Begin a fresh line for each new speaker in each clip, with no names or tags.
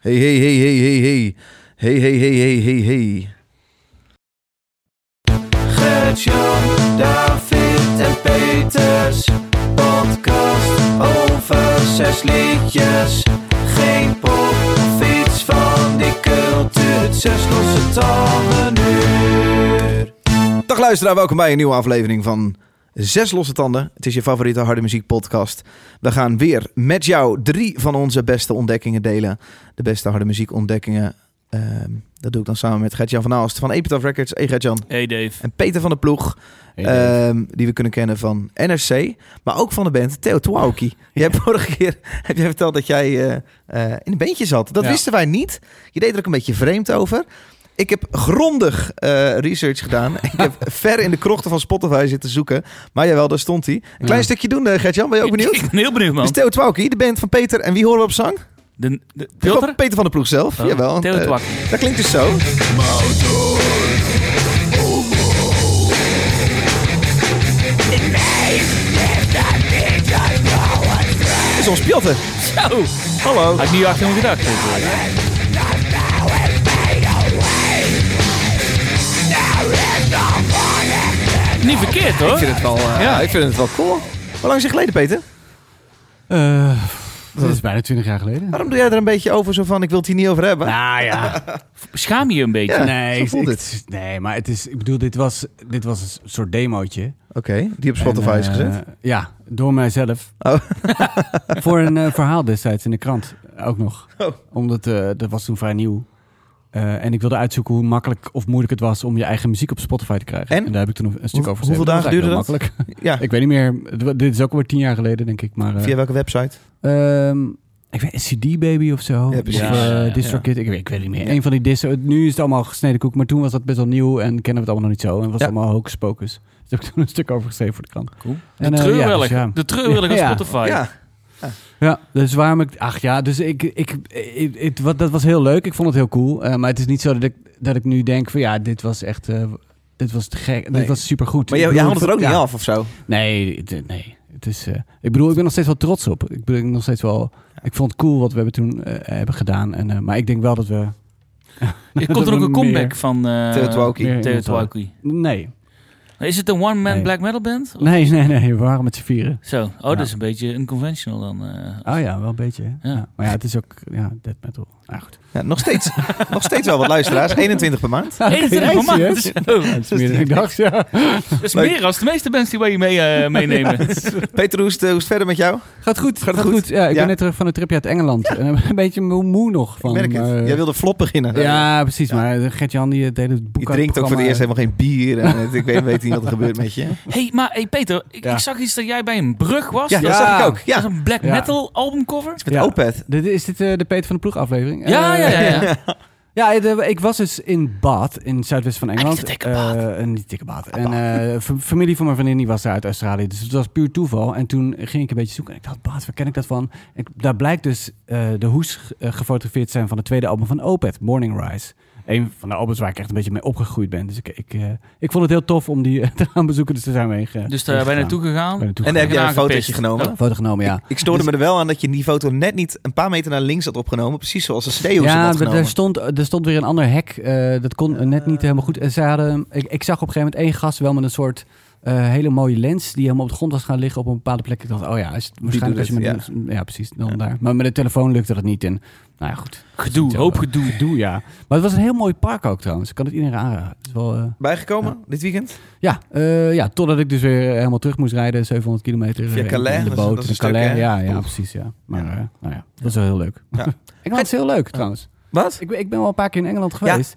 Hey, hey, hey, hey, hey, hey. Hey, hey, hey, hey, hey, hey.
Gert-Jan, David en Peters. Podcast over zes liedjes. Geen pop, fiets van die cultuur. Zes losse tanden uur.
Dag luisteraar, welkom bij een nieuwe aflevering van Zes Losse Tanden. Het is je favoriete harde muziek podcast. We gaan weer met jou drie van onze beste ontdekkingen delen. De beste harde muziek ontdekkingen. Ehm, dat doe ik dan samen met Gert-Jan van Aalst van Epitaph Records. Hey Gert-Jan.
Hey Dave.
En Peter van der Ploeg, ehm, die we kunnen kennen van NRC, maar ook van de band Theo Twauki. Je hebt vorige keer heb jij verteld dat jij eh, eh, in een bandje zat. Dat
Ja.
wisten wij niet. Je deed er ook een beetje vreemd over. Ik heb grondig eh, research gedaan. Ik heb ver in de krochten van Spotify zitten zoeken. Maar jawel, daar stond hij. Een klein
Ja.
stukje doen, eh, Gert-Jan. Ben je ook
Ik,
benieuwd?
ik ben heel benieuwd,
Dus
man.
Theo Twauki, de band van Peter. En wie horen we op zang?
De, de
Gewoon
filter?
Peter van der Ploeg zelf.
Oh,
jawel.
Theo
Eh,
Twauki.
dat klinkt dus zo. Dat is ons Pjotter.
Zo. Hallo. Had ik niet achter hem gedacht. Niet verkeerd hoor.
het wel, eh,
Ja.
ik vind het wel cool. Hoe lang is het geleden, Peter?
Eh, dat is bijna 20 jaar geleden.
Waarom doe jij er een beetje over zo van, ik wil het hier niet over hebben?
Nou ja,
Schaam je een beetje.
Ja,
nee,
Ah. zo
ik,
voelt
ik-
het.
nee, maar het is, ik bedoel, dit was, dit was een soort demootje.
Oké, die op Spotify
En,
is
eh,
gezet.
Ja, door mijzelf.
Oh.
Voor een eh, verhaal destijds in de krant eh, ook nog.
Oh.
Omdat eh, dat was toen vrij nieuw. Eh, en ik wilde uitzoeken hoe makkelijk of moeilijk het was om je eigen muziek op Spotify te krijgen.
En?
daar heb ik toen een stuk
Hoe-
over geschreven.
hoeveel dagen
was eigenlijk heel Makkelijk.
Ja,
ik weet niet meer. Het wa- Dit is ook alweer tien jaar geleden, denk ik. Maar, eh,
via welke website?
Ehm, ik weet, CD Baby of zo.
Ja, precies.
Of
Ja,
eh,
ja,
Distro
ja.
Kid. Ik, weet- ik weet niet meer.
Ja.
Een van die distro. Nu is het allemaal gesneden koek, maar toen was dat best wel nieuw en kennen we het allemaal nog niet zo. En was
Ja.
het allemaal hocus pocus. Dus daar heb ik toen een stuk over geschreven voor de krant.
Cool. De
En, eh, ja,
treurwillig.
dus ja.
De treurwillig op
Oh, Ja.
Spotify.
Ja,
Ja, dus waarom ik... Ach ja, dus ik... ik, ik- ik- wat, dat was heel leuk. Ik vond het heel cool. Eh, maar het is niet zo dat ik, dat ik nu denk van ja, dit was echt... eh, dit was te gek.
Nee.
Dit was supergoed.
maar
Ik
jij, jij
bedoel,
handelt er ook
ja.
niet af of zo?
Nee, het- nee. Het is, eh, ik bedoel, ik ben nog steeds wel trots op. Ik ben nog steeds wel. Ik vond het cool wat we hebben toen eh, hebben gedaan. En, eh, maar ik denk wel dat we.
Er
dat
komt er ook
we
een comeback
meer-
van eh,
Theo Twauki.
meer
Theo
iemand
Twauki.
hadden. Nee.
Is het een one-man
Nee.
black metal band? Of-
nee, nee, nee. We waren met z'n vieren.
Zo. Oh,
Ja.
dat is een beetje unconventional dan. eh.
Oh ja, wel een beetje. hè?
Ja.
Maar ja, het is ook ja, dead metal. Ah, goed.
Ja, nog, steeds, nog steeds wel wat luisteraars. 21 per maand.
Oké,
21
nice,
man.
hè?
Dat is-
Dat is meer dan ik dacht, ja.
Dat is
Leuk.
meer als de meeste bands die wij je mee, eh, meenemen.
Peter, hoe is het, eh, hoe is het verder met jou?
Gaat goed. Gaat,
goed?
goed. Ja, ik
Ja.
ben net terug van een tripje uit Engeland. En ik ben een beetje moe, moe nog van.
Ik merk
Oh, maar,
het. Jij wilde flop beginnen.
Ja, precies. Maar eh, Gert-Jan die deed het boek
Je drinkt ook voor het eerst helemaal geen bier. En het- ik weet, weet niet wat er gebeurt met je.
hey, maar hey Peter, ik,
Ja.
ik zag iets dat jij bij een brug was.
Ja,
dat
dat
Ja.
zag ik ook.
dat
Ja,
is een black
Ja.
metal albumcover.
met
Ja.
Opeth.
Dit, is dit eh, de Peter van de Ploeg aflevering?
Ja,
Eh,
ja, ja. ja.
Ja, de- ik was dus in Bath, in het zuidwesten van Engeland.
Echte dikke Bath.
Eh, een niet dikke Bath. En eh, fa- familie van mijn vriendin die was daar uit Australië. Dus het was puur toeval. En toen ging ik een beetje zoeken. En ik dacht, Bath, waar ken ik dat van? En ik- daar blijkt dus eh, de hoes eh, gefotografeerd zijn van het tweede album van Opeth, Morning Rise. Een van de albums waar ik echt een beetje mee opgegroeid ben. Dus ik, ik, eh, ik vond het heel tof om die eh, te gaan bezoeken. Dus daar zijn we heen ge-
Dus daar ben je naartoe gegaan.
Bijna toe
En dan heb
gegaan.
jij een
Aangepist.
fotootje genomen.
Foto genomen, ja.
Ik stoorde me er wel aan dat je die foto net niet een paar meter naar links had opgenomen. Precies zoals de Steeuws hem
Ja,
had
maar
genomen.
er stond, er stond weer een ander hek. eh, dat kon net niet helemaal goed. En ze hadden, ik, ik zag op een gegeven moment één gast wel met een soort eh, hele mooie lens... die helemaal op de grond was gaan liggen op een bepaalde plek. Ik dacht, oh ja, is het waarschijnlijk als
doet
je met
het,
een- ja. precies, dan daar. Maar met een telefoon lukte dat niet. En, nou ja, goed.
Gedoe,
Zo,
hoop
eh,
gedoe.
Doe ja. Maar het was een heel mooi park ook trouwens. Ik kan het iedereen aanraden. Het is wel, eh,
Bijgekomen dit weekend?
ja, eh, ja, totdat ik dus weer helemaal terug moest rijden. 700 kilometer.
Via
eh,
Calais,
In de
dat is-
boot.
dat is een
in
stuk,
Calais,
hè?
ja, ja,
Oef.
precies. Ja. Maar
Ja.
eh, nou ja, dat was wel heel leuk.
Ja.
ik vond het heel leuk trouwens.
Wat?
Ik, ben- ik ben wel een paar keer in Engeland geweest.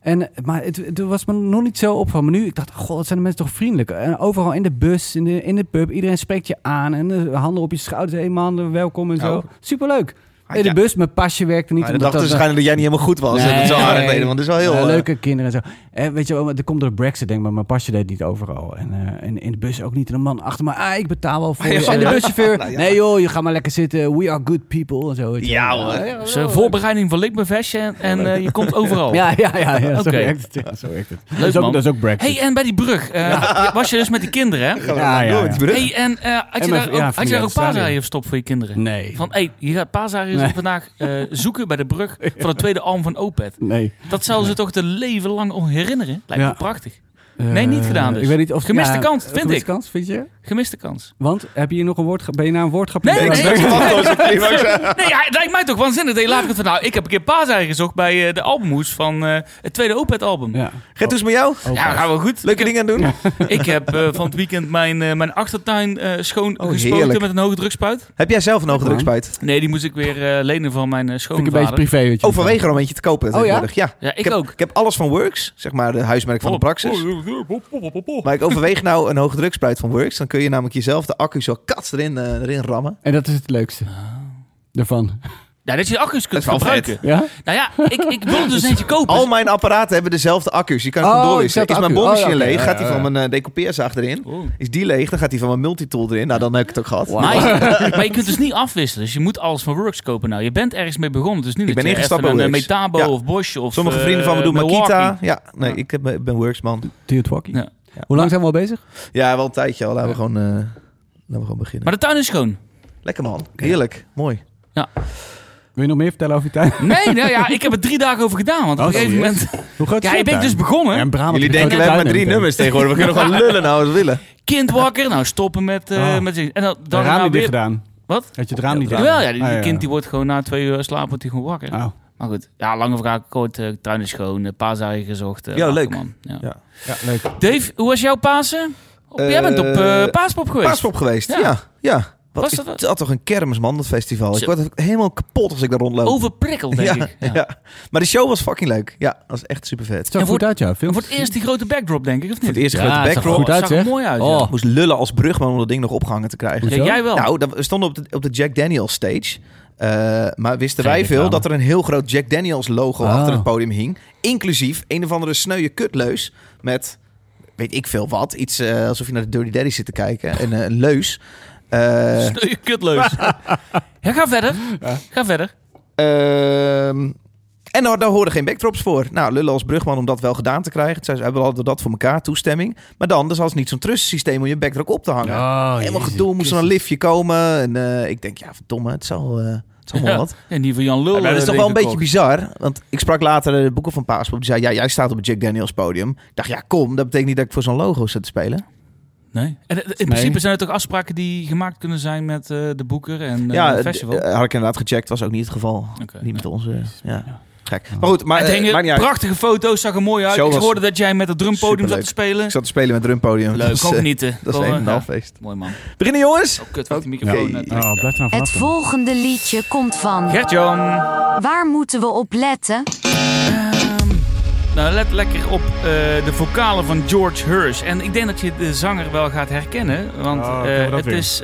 En, maar het, het was me nog niet zo opgevallen. Maar nu, ik dacht, god, wat zijn de mensen toch vriendelijk. En overal in de bus, in de, in de pub, iedereen spreekt je aan. En de handen op je schouders, hé man, welkom en zo.
Oh.
Superleuk.
Ah,
in de
ja.
bus, mijn pasje werkte niet.
Maar dan
omdat
dachten ze
dat-
waarschijnlijk dat jij niet helemaal goed was. en dat is wel
Nee.
aardig deden, want het is wel heel...
Ja,
eh,
leuke kinderen en zo. En weet je wel, er komt door de brexit denk ik, maar mijn pasje deed niet overal. En, eh, en in de bus ook niet. En een man achter me, ah, ik betaal wel voor
Ja,
je. En de
ja.
buschauffeur,
Nou, ja.
nee joh, je gaat maar lekker zitten. We are good people en zo. weet je
Ja,
wel.
hoor.
Dus eh, voorbereiding van Likbevestje en, en eh, je komt overal.
Ja, ja, ja, Oh. ja. Zo
Oké.
werkt het. Ja, zo werkt het.
Leuk,
dat, is ook,
man.
dat is ook Brexit.
hey, en bij die brug eh, was je dus met die kinderen, hè?
gaan we
Ja,
nou
ja,
door
ja.
met die brug?
hey, en eh, had je
En
daar
mijn-
ook,
ja,
had je daar
familie
ook
uit Australië.
paaseieren of stop voor je kinderen?
eh, nee.
Van, hé, hey, je gaat paaseieren is
Nee.
vandaag eh, zoeken bij de brug van het tweede album van Opeth.
Nee.
Dat zouden ze toch de leven lang om herinneren? Lijkt
Ja.
me prachtig. Nee, niet gedaan dus.
Eh, Ik weet niet of, eh,
Gemiste kans, vind
gemiste
ik.
kans, vind je?
Gemiste kans.
Want heb je hier nog een woord, ben je naar een woordgrapje?
Nee, nee, nee.
gegaan?
nee,
zeggen.
ja, het lijkt mij toch waanzinnig. dat je later van, nou, ik heb een keer paaseieren gezocht bij eh, de albumhoes van eh, het tweede Opeth-album. Ja,
Ja.
Gaat dus met jou?
Oh,
dat gaat wel goed.
Leuke dingen aan doen?
Ik heb eh, van het weekend mijn, eh, mijn achtertuin eh schoon
Oh,
gespoten
heerlijk.
met een hoge drukspuit.
Heb jij zelf een hoge
Lekker,
drukspuit?
Nee, die moest ik weer eh, lenen van mijn eh,
Vind ik een beetje
schoonvader.
privé. weet je.
Oh, vanwege er een beetje te kopen.
ja? Oh,
tegenwoordig. ja?
ja, ik,
heb,
ook.
Ik heb alles van Works, zeg maar de huismerk van de Praxis.
Oh,
Maar ik overweeg nou een hoge drukspuit van Works. Dan kun je namelijk jezelf de accu zo kats erin, eh, erin rammen.
En dat is het leukste daarvan.
Ja, dat je de accu's kunt
Dat is wel vet.
gebruiken.
Ah. Ja?
Nou ja, ik, ik wil dus eentje kopen.
Al mijn apparaten hebben dezelfde accu's. Je kan
Oh,
gewoon
ik
doorwisselen.
zat de
Is mijn
accu.
boormachine
Oh, ja, oké.
leeg,
Ja,
gaat die
ja,
van mijn eh, decoupeerzaag erin.
Oh.
Is die leeg, dan gaat die van mijn multitool erin. Nou, dan heb ik het ook gehad.
Wauw.
Maar, je, maar je kunt dus niet afwisselen. Dus je moet alles van Works kopen. Nou, je bent ergens mee begonnen. Dus nu dat
ben
je
ingestapt
even
bij
een eh,
Works.
Metabo
Ja.
of Bosch of
Sommige
eh,
vrienden van me doen
Milwaukee.
Makita. Ja, nee,
Ja.
ik heb, ik ben Works, man.
Duurt walkie.
Ja.
Hoe lang zijn we al bezig?
Ja, wel een tijdje al. Laten we
Ja.
gewoon, eh, laten we gewoon beginnen.
Maar de tuin is schoon.
Lekker, man. Heerlijk. Mooi.
Wil je nog meer vertellen over je tuin?
Nee, nou ja, ik heb er drie dagen over gedaan. Want op
Oh,
een gegeven
serieus?
moment...
Hoe groot is
Ja,
je
ik ben
tuin?
dus begonnen.
Ja, in Brabant
Jullie
heb je
denken,
grote
wij hebben maar
tuinen
drie nummers tegenwoordig. We kunnen gewoon lullen nou als we willen.
Kindwakker. Nou, stoppen met... eh,
Oh.
met en dan,
natuurlijk.
dan nou
raam niet
weer...
dicht gedaan.
Wat?
Had je het raam niet dicht
Jawel, ja, die, die
Ah, ja.
kind die wordt gewoon na twee uur slaap wordt die gewoon wakker.
Oh.
Maar goed, ja, lange verhaal kort. eh, tuin is schoon, eh, paaseieren gezocht. eh,
Ja,
lachen,
leuk.
man. Ja.
Ja.
Ja, leuk.
Dave, hoe was jouw Pasen? Op-
Eh,
jij bent op eh, Paaspop geweest.
Paaspop geweest, ja.
Ja.
ja. Wat
Was
is
dat-
dat, toch een kermis, man, dat festival. Ik
Zo.
word ook helemaal kapot als ik daar rondloop.
Overprikkeld, denk
ja,
ik. Ja.
ja. Maar de show was fucking leuk. Ja, dat was echt super vet.
Het zag
En voor-
goed uit, ja. Veel
En voor het eerst die grote backdrop, denk ik, of niet?
Voor het eerst een
Ja,
grote
het zag er
backdrop.
goed uit,
zag er
zeg.
mooi uit,
Oh.
ja.
Ik moest lullen als brugman om dat ding nog opgehangen te krijgen.
Ja,
Hoezo?
jij wel.
Nou, dat- we stonden op de, op de Jack Daniels stage. Eh, maar wisten
Geen
wij veel
reclame.
dat er een heel groot Jack Daniels logo
Ah.
achter het podium hing. Inclusief een of andere sneuwe kutleus met, weet ik veel wat, iets eh, alsof je naar de Dirty Daddy zit te kijken. En eh, een leus. Eh,
Sneu- kutleus. ja, ga verder. Ga verder.
Ehm, en daar, daar hoorden geen backdrops voor. Nou, lullen als brugman om dat wel gedaan te krijgen. Toen zei ze, we hadden dat voor elkaar, toestemming. Maar dan, dus als niet zo'n trustsysteem om je backdrop op te hangen.
Oh,
Helemaal gedoe, moest er een liftje komen. En eh, ik denk, ja, verdomme, het zal, eh het zal wel
Ja.
wat.
En die van Jan Lul.
Maar dat is
eh,
toch wel een beetje
leeggekocht.
bizar. Want ik sprak later eh, de boeken van Paaspop. Die zei, ja, jij staat op het Jack Daniels podium. Ik dacht, ja, kom, dat betekent niet dat ik voor zo'n logo zit te spelen.
Nee. En, eh, in principe zijn het toch afspraken die gemaakt kunnen zijn met eh, de boeker en eh,
ja,
het
d-
festival.
eh, had ik inderdaad gecheckt, was ook niet het geval.
Oké, nou.
niet met onze, ja. Gek.
Ja.
Maar goed, maar,
het
eh,
hingen
maakt niet uit.
prachtige foto's, zag er mooi uit.
Show
Ik
was
hoorde dat jij met het drumpodium zat
superleuk.
te spelen.
Ik zat te spelen met drumpodium.
Leuk,
Dat is,
gewoon
eh,
genieten.
Dat is
Gewoon,
een en
ja.
half feest.
Mooi man.
Beginnen jongens!
Oh, kut, wat die
Oké.
microfoon. eh,
Oh, blijf er nou vanaf
Het
dan.
volgende liedje komt van.
Gert-Jan.
Waar moeten we op letten?
Ehm, nou, let lekker op eh, de vocalen van George Hurst. En ik denk dat je de zanger wel gaat herkennen. Want
Oh,
eh,
kunnen we
het
dat weer?
is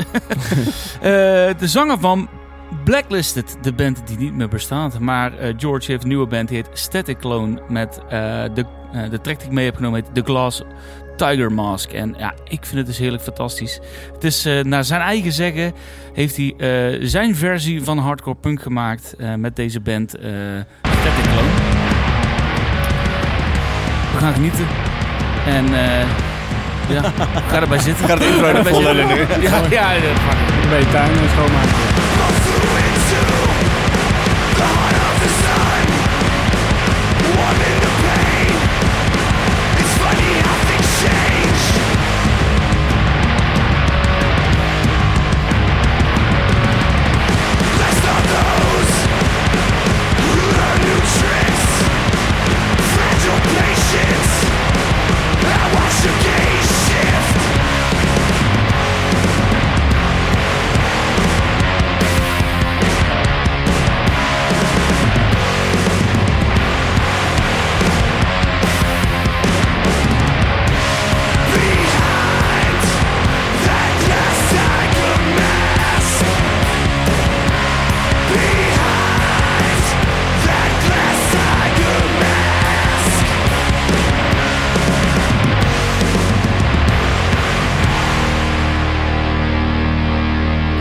eh, de zanger van Blacklisted. De band die niet meer bestaat. Maar eh, George heeft een nieuwe band. Die heet Static Clone. Met eh, de, eh, de track die ik mee heb genomen heet The Glass Tiger Mask. En ja, ik vind het dus heerlijk fantastisch. Het is eh, naar zijn eigen zeggen heeft hij eh, zijn versie van hardcore punk gemaakt eh, met deze band eh Static Clone. We gaan genieten. En eh, ja, ga erbij zitten. Ga het intro erbij zitten. Ja, ja, ja, fuck.
Bij je tuin en schoonmaken.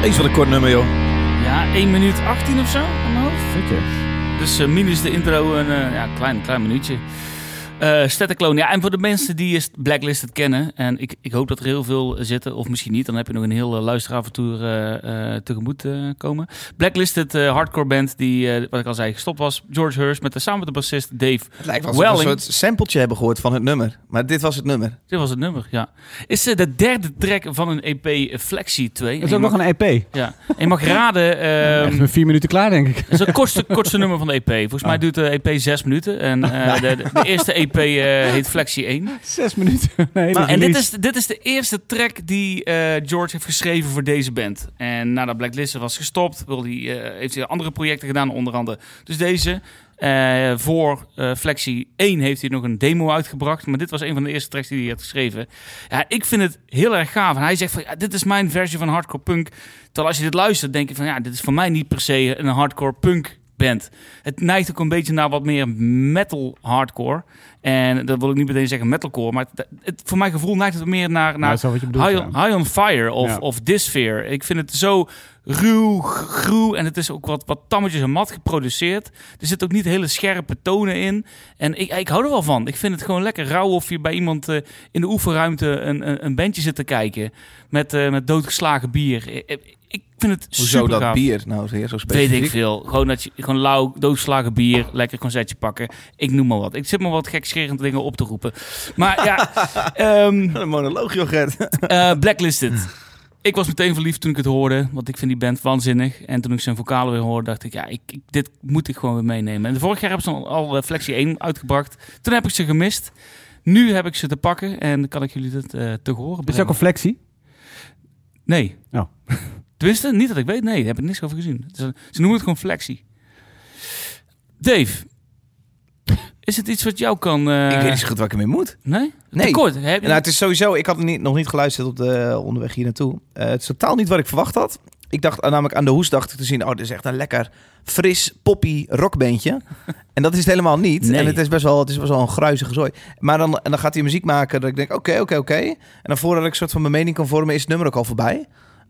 Eens wat een kort nummer, joh.
ja, 1 minuut 18 of zo aan mijn hoofd.
Zeker.
Dus eh, minus de intro een eh, ja, klein, klein minuutje. Eh Static Clone, ja. En voor de mensen die is- Blacklisted kennen, en ik, ik hoop dat er heel veel zitten, of misschien niet, dan heb je nog een heel eh, luisteravontuur eh, eh, tegemoet eh, komen. Blacklisted eh, hardcore band die, eh, wat ik al zei, gestopt was. George Hurst met de, samen met de bassist Dave.
Het lijkt wel alsof we een
Welling.
soort sampletje hebben gehoord van het nummer. Maar dit was het nummer.
Dit was het nummer, ja. Is eh, de derde track van een E EP Flexie 2.
Het is
En
ook
je
nog een E EP.
mag- Ja. En je mag raden... ehm,
Echt met vier minuten klaar, denk ik.
Het is het kortste, kortste nummer van de EP. Volgens mij
Oh.
duurt de EP zes minuten. En eh, de, de- de eerste EP eh, heet Flexie 1.
Zes minuten. Nee,
Maar- en dit is, dit is de eerste track die eh, George heeft geschreven voor deze band. En nadat Blacklisted was gestopt, wil hij, eh, heeft hij andere projecten gedaan, onder andere. Dus deze, eh, voor eh Flexie 1 heeft hij nog een demo uitgebracht. Maar dit was een van de eerste tracks die hij had geschreven. Ja, ik vind het heel erg gaaf. En hij zegt van, ja, dit is mijn versie van hardcore punk. Terwijl als je dit luistert, denk je van, ja, dit is voor mij niet per se een hardcore punk band. Het neigt ook een beetje naar wat meer metal hardcore. En dat wil ik niet meteen zeggen metalcore, maar het, het- voor mijn gevoel neigt het meer naar, naar
Nou, zo wat je bedoelt.
High on,
ja.
High on Fire of,
Ja.
of Disfear. Ik vind het zo ruw, g- groe en het is ook wat, wat tammetjes en mat geproduceerd. Er zitten ook niet hele scherpe tonen in. En ik, ik hou er wel van. Ik vind het gewoon lekker rauw of je bij iemand eh, in de oefenruimte een, een, een bandje zit te kijken met, eh, met doodgeslagen bier. Ik, ik vind het
Hoezo
super
dat
gaaf.
bier nou weer zo
Weet
specifiek?
ik veel. Gewoon, dat je, gewoon lauw, doodslagen bier, lekker concertje pakken. Ik noem maar wat. Ik zit maar wat gekscherende dingen op te roepen. Maar ja, ehm,
Wat Een monoloog, joh, Gert.
eh, Blacklisted. Ik was meteen verliefd toen ik het hoorde, want ik vind die band waanzinnig. En toen ik zijn vocalen weer hoorde, dacht ik, ja, ik, ik- dit moet ik gewoon weer meenemen. En vorig jaar hebben ze al, al eh, Flexie 1 uitgebracht. Toen heb ik ze gemist. Nu heb ik ze te pakken en dan kan ik jullie dat eh te horen
Dit is ook
brengen.
een flexie.
Nee.
Oh.
Tenminste, niet dat ik weet. Nee, daar heb ik niks over gezien. Ze, ze noemen het gewoon Flexie. Dave, is het iets wat jou kan... eh,
ik weet niet zo goed waar ik ermee moet.
Nee?
Nee.
Tekort. Heb je...
Nou, het is sowieso... Ik had niet, nog niet geluisterd op de onderweg hier naartoe. Eh, het is totaal niet wat ik verwacht had. Ik dacht eh, namelijk aan de hoes dacht ik te zien... Oh, dit is echt een lekker fris, poppy rockbandje. En dat is het helemaal niet.
Nee.
En het is, best wel, het is best wel een gruizige zooi. Maar dan, en dan gaat hij muziek maken dat ik denk... Oké, oké, oké. En dan voordat ik een soort van mijn mening kan vormen... is het nummer ook al voorbij.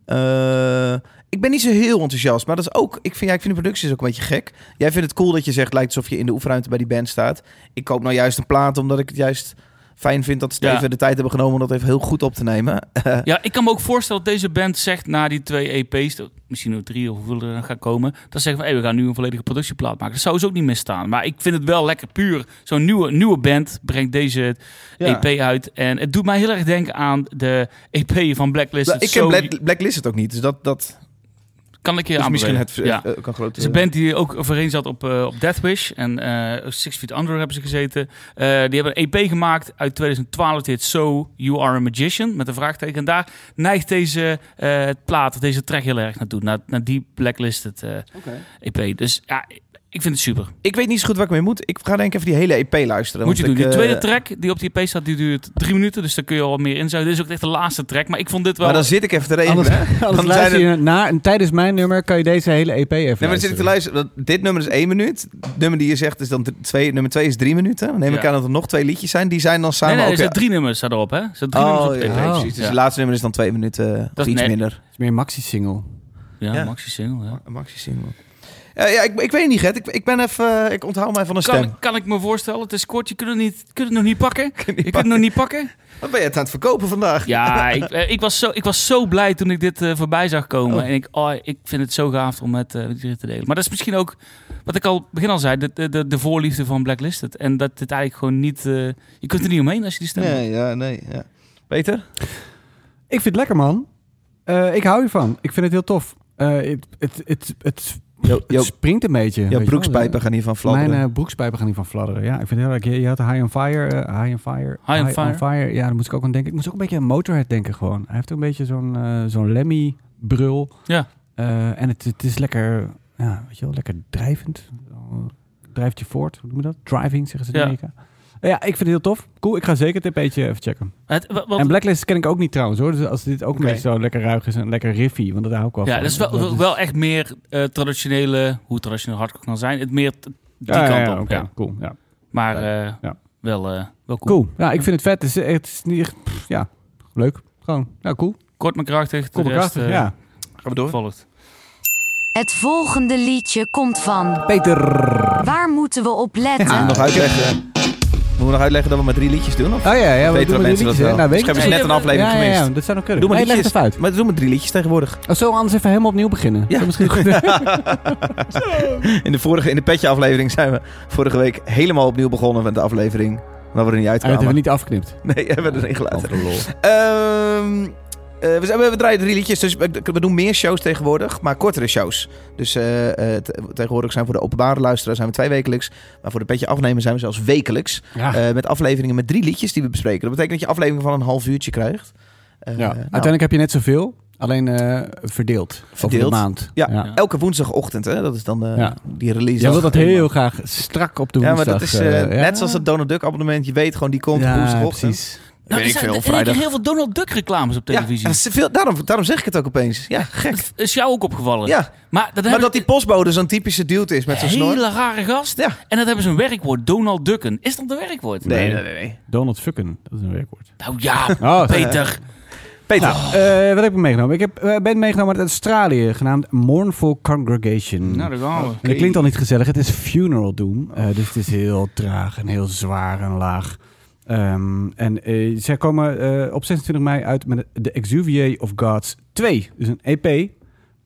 Eh, ik ben niet zo heel enthousiast. Maar dat is ook... Ik vind, ja, ik vind de productie is ook een beetje gek. Jij vindt het cool dat je zegt... lijkt alsof je in de oefenruimte bij die band staat. Ik koop nou juist een plaat omdat ik het juist fijn vind dat ze
Ja.
even de tijd hebben genomen om dat even heel goed op te nemen.
Ja, ik kan me ook voorstellen dat deze band zegt na die twee EP's, misschien nog drie of hoeveel er dan gaan komen, dat ze zeggen van hey, we gaan nu een volledige productieplaat maken. Dat zou ze ook niet misstaan. Maar ik vind het wel lekker puur. Zo'n nieuwe, nieuwe band brengt deze
Ja.
EP uit. En het doet mij heel erg denken aan de EP van Blacklist.
Nou, ik ken Black, Blacklist het ook niet, dus dat, dat
Kan ik je
is
aanbevelen.
misschien het
Ja.
eh, kan groot.
Het is een band die ook voorheen zat op, eh, op Deathwish. En eh, Six Feet Under hebben ze gezeten. Eh, die hebben een EP gemaakt uit 2012. Die heet So You Are a Magician. Met een vraagteken. En daar neigt deze eh, plaat, deze track heel erg naartoe. Naar, naar die blacklisted eh, EP. Dus ja, ik vind het super.
Ik weet niet zo goed waar ik mee moet. Ik ga denk ik even die hele EP luisteren.
Moet je doen.
want
Die
ik,
tweede
eh,
track die op die EP staat, die duurt drie minuten. Dus daar kun je al wat meer in zuigen. Dit is ook echt de laatste track. Maar ik vond dit wel...
Maar dan zit ik even te rekenen.
Anders,
Nee,
anders
zijn
luister je
er-
na, en tijdens mijn nummer kan je deze hele EP even
maar dan zit ik te luisteren. want Dit nummer is één minuut. Het nummer die je zegt is dan dr- twee, nummer twee is drie minuten. Dan neem ik
Ja.
aan dat er nog twee liedjes zijn. Die zijn dan
nee,
samen
nee, er
ook...
zijn drie nummers staan erop, hè? Er zijn drie nummers op
oh,
de
ja,
EP.
nee,
Oh.
precies. Dus
Ja.
het laatste nummer is dan twee minuten
Dat
of
is
iets
net-
minder.
Het is meer een maxi-single.
Ja,
Ja.
maxi single, ja.
Een maxi single. Ja, ja ik, ik weet niet, Gert. Ik, ik ben even... eh, Ik onthoud mij van een stem.
Kan, kan ik me voorstellen, het is kort, je kunt het, niet, kunt het nog niet pakken. Je
niet
kunt het nog niet pakken.
Wat ben je het aan het verkopen vandaag?
Ja, ik, eh, ik, was zo, ik was zo blij toen ik dit eh, voorbij zag komen.
Oh.
En ik, oh, ik vind het zo gaaf om het eh, met jullie te delen. Maar dat is misschien ook, wat ik al begin al zei, de- de, de, de voorliefde van Blacklisted. En dat dit eigenlijk gewoon niet, eh, je kunt er niet omheen als je die stem hoort.
Nee, ja, nee. Ja. Peter?
Ik vind het lekker, man. Eh, ik hou hiervan. Ik vind het heel tof. Eh, het, het, het, het, het springt een beetje. weet je
jouw
wel.
broekspijpen gaan hiervan fladderen.
Mijn eh, broekspijpen gaan hiervan fladderen. Ja, ik vind het heel leuk. Je, je had High on Fire. eh, high on Fire.
on Fire.
Ja, daar moest ik ook aan denken. Ik moest ook een beetje aan Motorhead denken gewoon. Hij heeft ook een beetje zo'n eh, zo'n Lemmy-brul.
Ja.
Eh, en het, het is lekker, ja, weet je wel, lekker drijvend. Drijft je voort, hoe noem je dat? Driving, zeggen ze in
Ja.
Amerika. Eh, ja, even heel tof. Cool, ik ga zeker het EP'tje even checken.
Het- wa- wat-
En Blacklist ken ik ook niet trouwens hoor. Dus als dit ook
Oké.
een beetje zo lekker ruig is en lekker riffy, want dat hou ik wel dus-
ja,
van.
dat is wel, wel, wel echt meer eh, traditionele, hoe traditioneel hardcore kan zijn. Het meer t- die
Ja, ja,
kant
ja,
op,
oké,
ja.
cool. Ja.
Maar eh,
Ja.
wel, eh, wel cool.
Cool. Ja, ik vind het vet. Het is, het is niet echt, pff, ja, leuk. Gewoon, ja, cool.
Kort maar krachtig, de
Cool,
rest
krachtig,
eh,
ja.
Gaan we door?
volgt.
Het volgende liedje komt van.
Peter. Oh
Waar moeten we op letten?
Nog uitleggen. Moeten we nog uitleggen dat we maar drie liedjes doen? Of?
Oh ja, ja,
weten
we doen
wel
met
mensen
die
dat
liedjes,
wel.
hè? Nou,
dus
weet ik
hebben
niet.
ze net een aflevering
ja, ja,
gemist.
ja, dat zou nog kunnen.
Doe maar
nee, leg
liedjes.
het even uit.
Maar doe maar drie liedjes tegenwoordig.
Oh, zo, anders even helemaal opnieuw beginnen.
Ja.
Zo misschien goed.
In de, vorige, in de petje aflevering zijn we vorige week helemaal opnieuw begonnen met de aflevering. Waar we er niet
Ah, dat
uitkwamen.
hebben we niet afgeknipt.
Nee, hebben we erin gelaten.
Oh,
Andere lol.
Ehm, eh, we, zijn- we- we draaien drie liedjes, dus we, we doen meer shows tegenwoordig, maar kortere shows. Dus eh, eh, te- tegenwoordig zijn we voor de openbare luisteraar zijn we twee wekelijks, maar voor de petje afnemen zijn we zelfs wekelijks.
Ja.
Eh, met afleveringen met drie liedjes die we bespreken. Dat betekent dat je afleveringen van een half uurtje krijgt. Eh,
ja.
nou,
Uiteindelijk heb je net zoveel, alleen eh, verdeeld. Over de
Verdeeld.
maand.
Ja.
ja.
Elke woensdagochtend, hè? dat is dan eh,
Ja.
die release.
Jij wil dat
Helemaal.
heel graag strak op de
Ja,
woensdag.
maar dat is eh,
eh, ja.
net zoals het Donald Duck abonnement. Je weet gewoon, die komt
ja,
woensdagochtend.
precies.
Nou,
Weet
er
ik
zijn-
veel,
er liggen
vrijdag.
heel veel Donald Duck reclames op
Ja,
televisie.
er is veel, daarom, daarom zeg ik het ook opeens. Ja, gek.
Dat is jou ook opgevallen.
Ja,
Maar, dat
maar
hebben
dat die postbode zo'n typische dude is met zo'n
een
snor.
hele rare gast.
Ja.
En dat hebben ze een werkwoord, Donald Ducken. Is dat een werkwoord?
Nee,
Nee.
nee, nee. nee.
Donald Fucken, dat is een werkwoord.
Nou ja,
Oh,
Peter.
Peter,
Eh, wat heb ik meegenomen? Ik heb, eh, ben meegenomen uit Australië, genaamd Mournful
Mm.
Congregation.
Nou, daar gaan we.
En dat klinkt al niet gezellig. Het is funeral doom. Eh, dus het is heel traag en heel zwaar en laag. Ehm, en eh, zij komen eh, op 26 mei uit met de Exuvier of Gods 2. Dus een EP.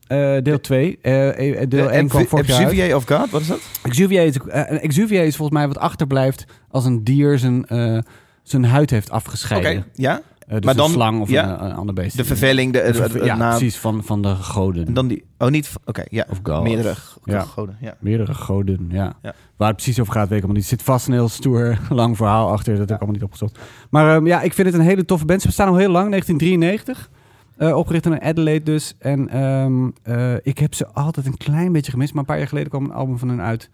eh, deel 2. Eh, eh, deel 1 kwam vorig jaar uit.
Exuvier of God, wat is dat?
Exuvier is, eh, een Exuvier is volgens mij wat achterblijft als een dier zijn, eh, zijn huid heeft
Oké,
afgescheiden.
ja.
Eh, dus
Maar dan-
een slang of
ja.
een, een ander beest.
De verveling, de,
De
de, de,
verve- ja,
na-
precies. Van, van de goden.
en dan die, oh niet, v- oké, ja.
of gods.
Meerdere
Ja.
ja. Eh, goden, ja.
Meerdere goden, ja.
Ja.
Waar het precies over gaat, weet ik allemaal niet. Er zit vast een heel stoer, lang verhaal achter. Dat heb ik allemaal niet opgezocht. Maar ehm, ja, ik vind het een hele toffe band. Ze bestaan al heel lang, 1993. Eh, opgericht in Adelaide dus. En ehm, eh, ik heb ze altijd een klein beetje gemist. Maar een paar jaar geleden kwam een album van hen uit.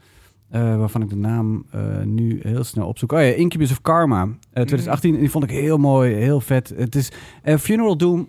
eh, waarvan ik de naam eh, nu heel snel opzoek. Oh ja, Incubus of Karma. eh,
Mhm.
2018. En die vond ik heel mooi, heel vet. Het is... eh, Funeral Doom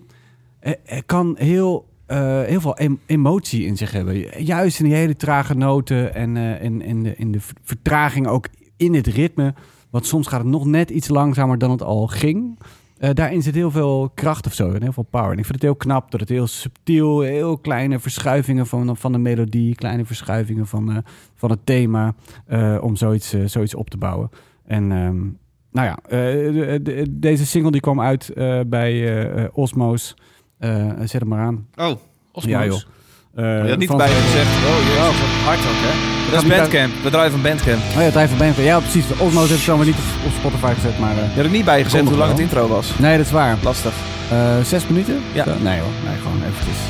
eh, eh, kan heel, eh, heel veel em- emotie in zich hebben. Juist in die hele trage noten en eh, in, in, de, in de ver- vertraging ook in het ritme. Want soms gaat het nog net iets langzamer dan het al ging. Eh, daarin zit heel veel kracht of zo en heel veel power. En ik vind het heel knap dat het heel subtiel, heel kleine verschuivingen van, van de melodie, kleine verschuivingen van, eh, van het thema, eh, om zoiets, eh, zoiets op te bouwen. En ehm, nou ja, eh, de- de- deze single die kwam uit eh, bij eh, eh, Osmos. Eh, zet hem maar aan.
Oh,
Osmos.
Ja, joh. Eh,
je had niet
van-
bij hem gezegd. Oh, jezus, wat hard ook, hè. Dat
Gaat
is
niet bij-
Bandcamp, we draaien van Bandcamp.
Oh ja, het hij van Benfica. Ja, precies. De Osmos heeft het allemaal niet op, op Spotify gezet, maar... eh,
Je had er niet bij gezegd
Komt
hoe
nog
lang het intro was.
nee, dat is waar.
Lastig.
Eh, zes minuten?
Ja.
Zo? Nee hoor, nee, gewoon eventjes.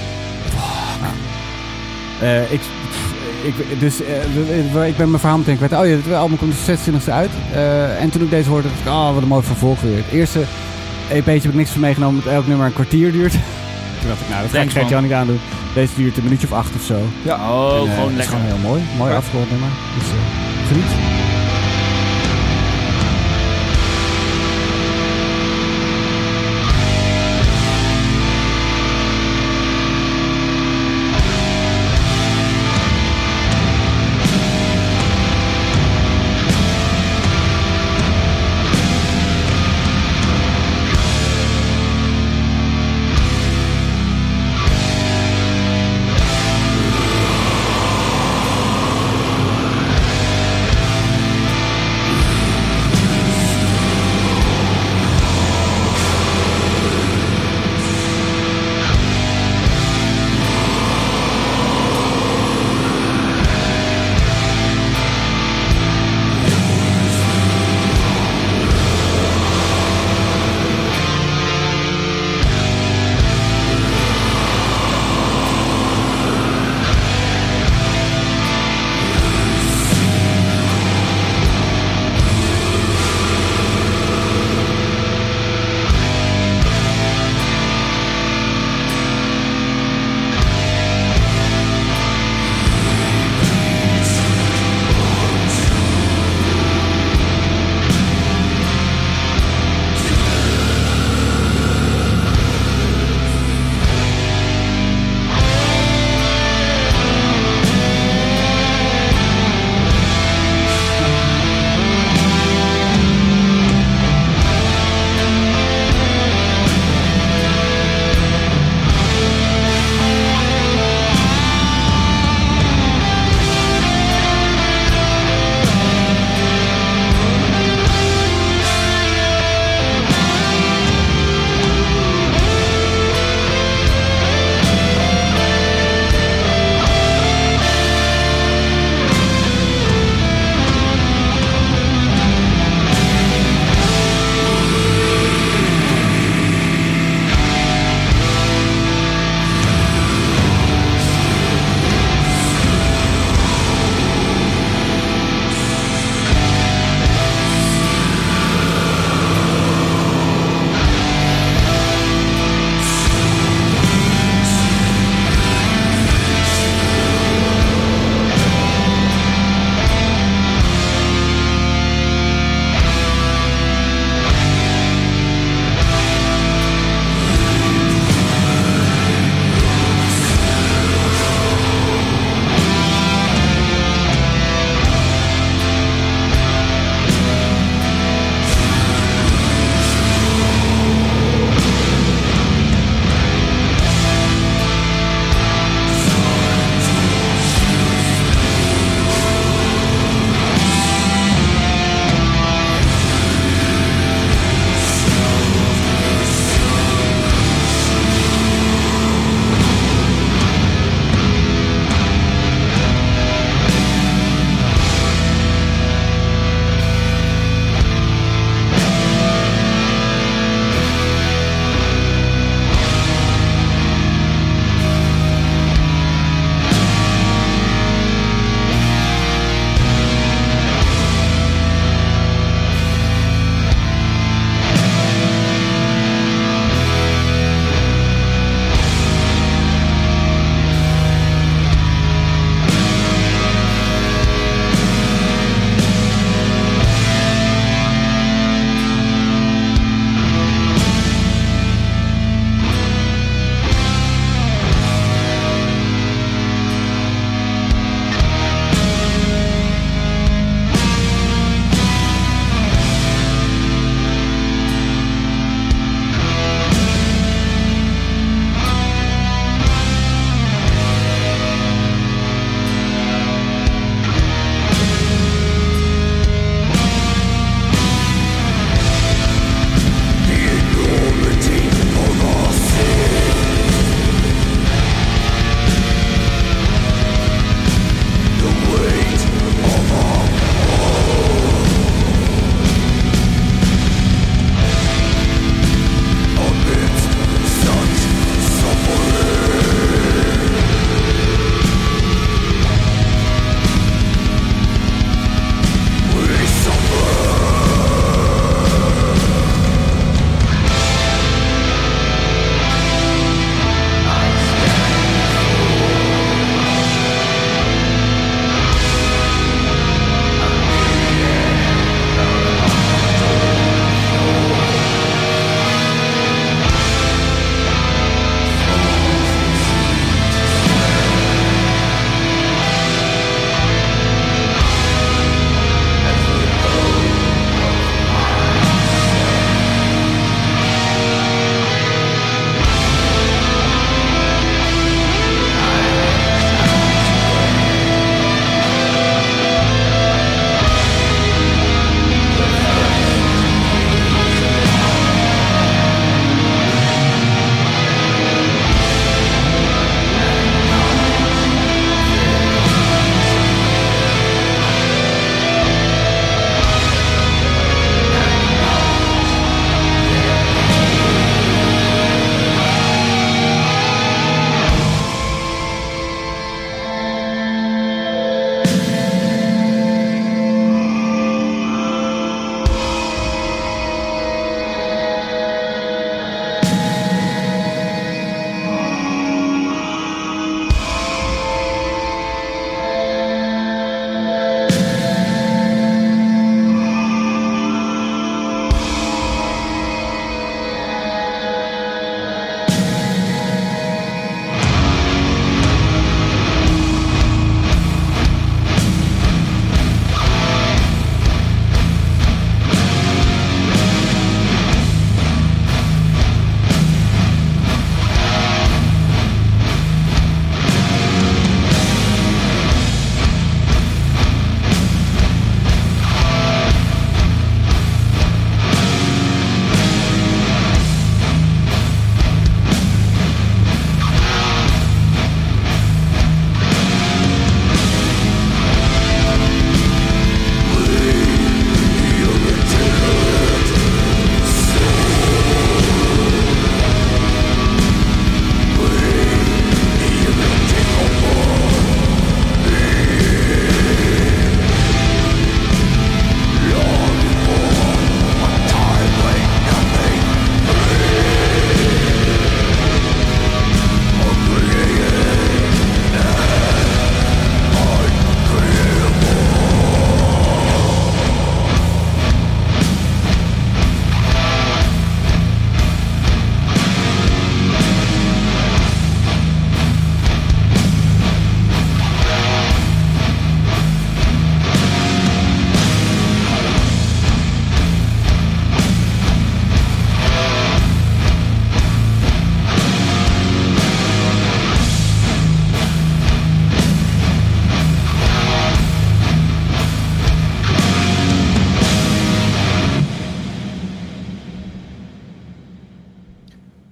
Nou. Eh, ik, pff, ik, dus, eh, we- we- ik ben mijn verhaal meteen kwijt. Oh ja, het album komt de 26e uit. Eh, en toen ik deze hoorde, dacht ik, oh, wat een mooi vervolg weer. Het eerste EP'tje heb ik niks van meegenomen, omdat elk nummer een kwartier duurt. toen dacht ik, nou, dat ga ik
Thanks, man.
Gert-Jan niet aandoen. Deze duurt een minuutje of acht of zo.
Oh,
En, eh,
gewoon
dat is
lekker.
gewoon heel mooi. Mooi
Ja.
afgerond nummer. Dus eh, geniet.
Thank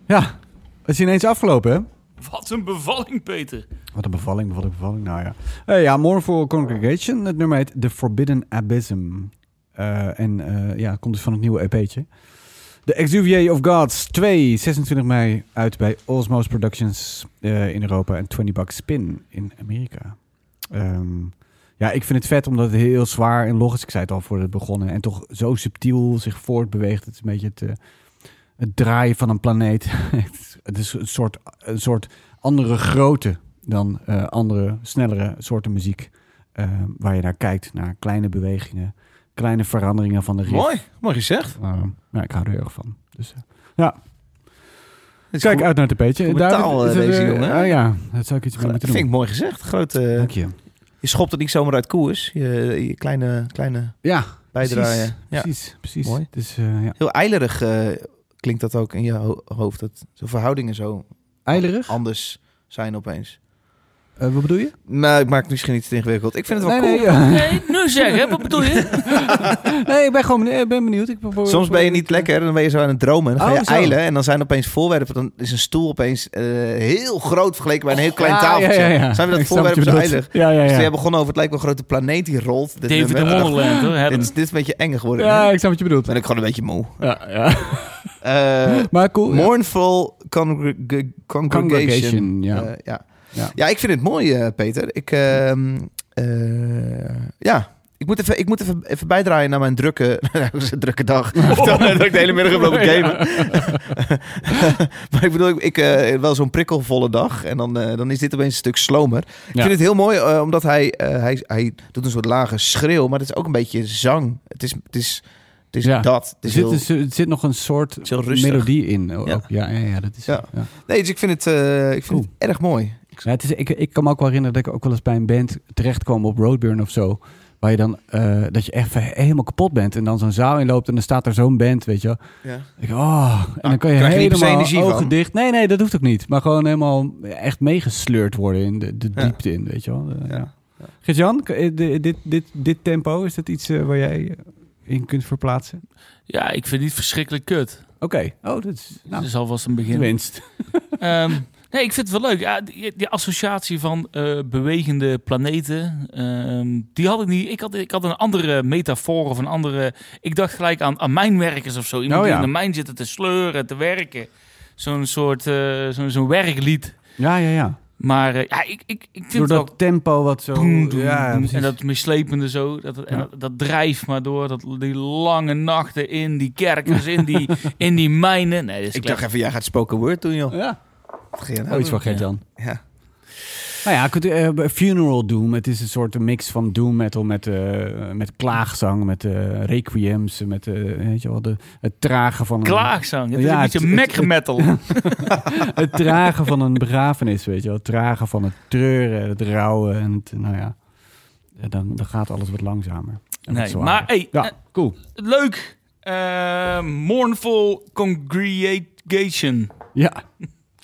Ja, het is ineens afgelopen, hè?
Wat een bevalling, Peter.
Wat een bevalling, wat een bevalling. Nou ja. Eh, ja, More for Congregation. Het nummer heet The Forbidden Abysm. Eh, en eh, ja, het komt dus van het nieuwe EP'tje. The Exuvier of Gods 2, 26 mei uit bij Osmos Productions eh, in Europa en 20 Bucks Spin in Amerika. Ehm, ja, ik vind het vet omdat het heel zwaar en log is. Ik zei het al voor het begonnen. En toch zo subtiel zich voortbeweegt. Het is een beetje het, eh, het draaien van een planeet. het is een soort, een soort andere grootte dan eh, andere, snellere soorten muziek. eh, waar je naar kijkt, naar kleine bewegingen, kleine veranderingen van de riff.
Mooi, mooi gezegd.
Eh, nou, ik hou er heel erg van. Dus, eh,
Het is
kijk
goed.
uit naar het peetje.
goed betaal, eh, deze jongen, hè?
Ah, ja, daar zou ik iets mee
Dat
moeten
vind
doen.
ik mooi gezegd. Grote,
Dank je.
je schopt het niet zomaar uit koers. Je, je kleine, kleine
Ja,
bijdrage.
precies,
ja.
precies. precies.
Mooi.
Dus, eh, ja.
Heel eilerig eh, klinkt dat ook in je ho- hoofd. Dat zo verhoudingen zo
Eilerig?
anders zijn opeens.
Eh, wat bedoel je?
Nou, ik maak het misschien iets te ingewikkeld. Ik vind het wel
nee,
cool.
nee, ja.
Nee, nu zeg, hè? Wat bedoel je?
nee, ik ben gewoon benieuwd. Ik ben benieuwd. Ik probeer-
Soms ben je niet lekker, dan ben je zo aan het dromen. Dan ga
Oh,
je
zo.
eilen en dan zijn opeens voorwerpen. Dan is een stoel opeens eh, heel groot vergeleken bij een heel klein
Ja,
tafeltje.
ja, ja, ja.
Zijn we dat
Ik snap wat
voorwerp
je
zo
bedoelt.
eilig?
Ja, ja,
Dus
ja.
toen jij begon over het lijkt wel een grote planeet die rolt. Dit
David de
nummer. Ah,
Wonderland, hoor.
Dit,
hebben
is- dit is een beetje eng geworden.
Ja,
Dan
ik snap wat je bedoelt.
ben ik gewoon een beetje moe.
Ja, ja.
Eh,
Maar cool. ja.
Mournful congreg- Congregation.
Congregation, ja.
Eh, ja.
Ja.
Ja. ik vind het mooi, eh, Peter. Ik, ehm, eh, ja, ik moet, even, ik moet even, even bijdraaien naar mijn drukke, nou, het is een drukke dag. Dat ik de hele middag heb lopen gamen. maar ik bedoel, ik, ik, eh, wel zo'n prikkelvolle dag. En dan, eh, dan is dit opeens een stuk slomer. Ik
Ja.
vind het heel mooi, eh, omdat hij, eh, hij, hij doet een soort lage schreeuw. Maar het is ook een beetje zang. Het is, het is, het is
Ja.
dat. Het
Er
is
zit,
heel-
dus- er zit nog een soort
is heel rustig.
melodie in. o- ook. Ja.
Ja.
Ja, ja, dat is. Ja.
Ja. Nee, dus ik vind het, eh, ik vind
Cool.
het erg mooi.
Ja, het is, ik, ik kan me ook wel herinneren dat ik ook wel eens bij een band terechtkwam op Roadburn of zo. Waar je dan eh, dat je echt van helemaal kapot bent. En dan zo'n zaal inloopt en dan staat er zo'n band, weet je. wel.
Ja.
Ik, oh, en dan kan je
krijg je niet per se
helemaal
energie
ogen
van.
dicht. Nee, nee, dat hoeft ook niet. Maar gewoon helemaal echt meegesleurd worden in de, de
Ja.
diepte in, weet je wel. Eh,
Ja.
ja. Gert-Jan, k- eh, di- dit, dit, dit tempo, is dat iets eh, waar jij in kunt verplaatsen?
Ja, ik vind dit verschrikkelijk kut.
Oké. Oh, dat is nou,
Dat is alvast een begin.
winst.
Ehm, nee, ik vind het wel leuk. Ja, die, die associatie van eh, bewegende planeten, ehm, die had ik niet. Ik had, ik had een andere metafoor of een andere... Ik dacht gelijk aan, aan mijnwerkers of zo. Iemand
Oh, ja.
die in de mijn zitten te sleuren, te werken. Zo'n soort, eh, zo'n zo'n werklied.
Ja, ja, ja.
Maar eh, ja, ik, ik, ik vind
Door
het
dat
ook...
tempo wat zo...
Boem, doem,
ja,
doem.
precies.
en dat mislepende zo, dat, en
Ja.
dat, dat drijft maar door. Dat, die lange nachten in die kerkers, in die, in die mijnen. Nee, dat is
Ik
slecht.
dacht even, jij gaat spoken word doen, joh.
Ja,
Wat ga je nou
oh, iets van
doen?
Gert-Jan.
Ja.
Nou ja, kunt u, eh, bij Funeral Doom. Het is een soort mix van doom metal met, eh, met klaagzang, met eh, requiems, met eh, weet je wel, de, het tragen van... een-
Klaagzang. Het is
Ja,
een beetje
het- het-
Mac metal.
het dragen van een begrafenis, weet je wel. Het dragen van het treuren, het rouwen en het, nou ja. Ja, Dan, dan gaat alles wat langzamer. en wat
Nee,
zwaarder.
maar hey,
Ja,
eh,
cool.
leuk. Eh, mournful congregation.
Ja.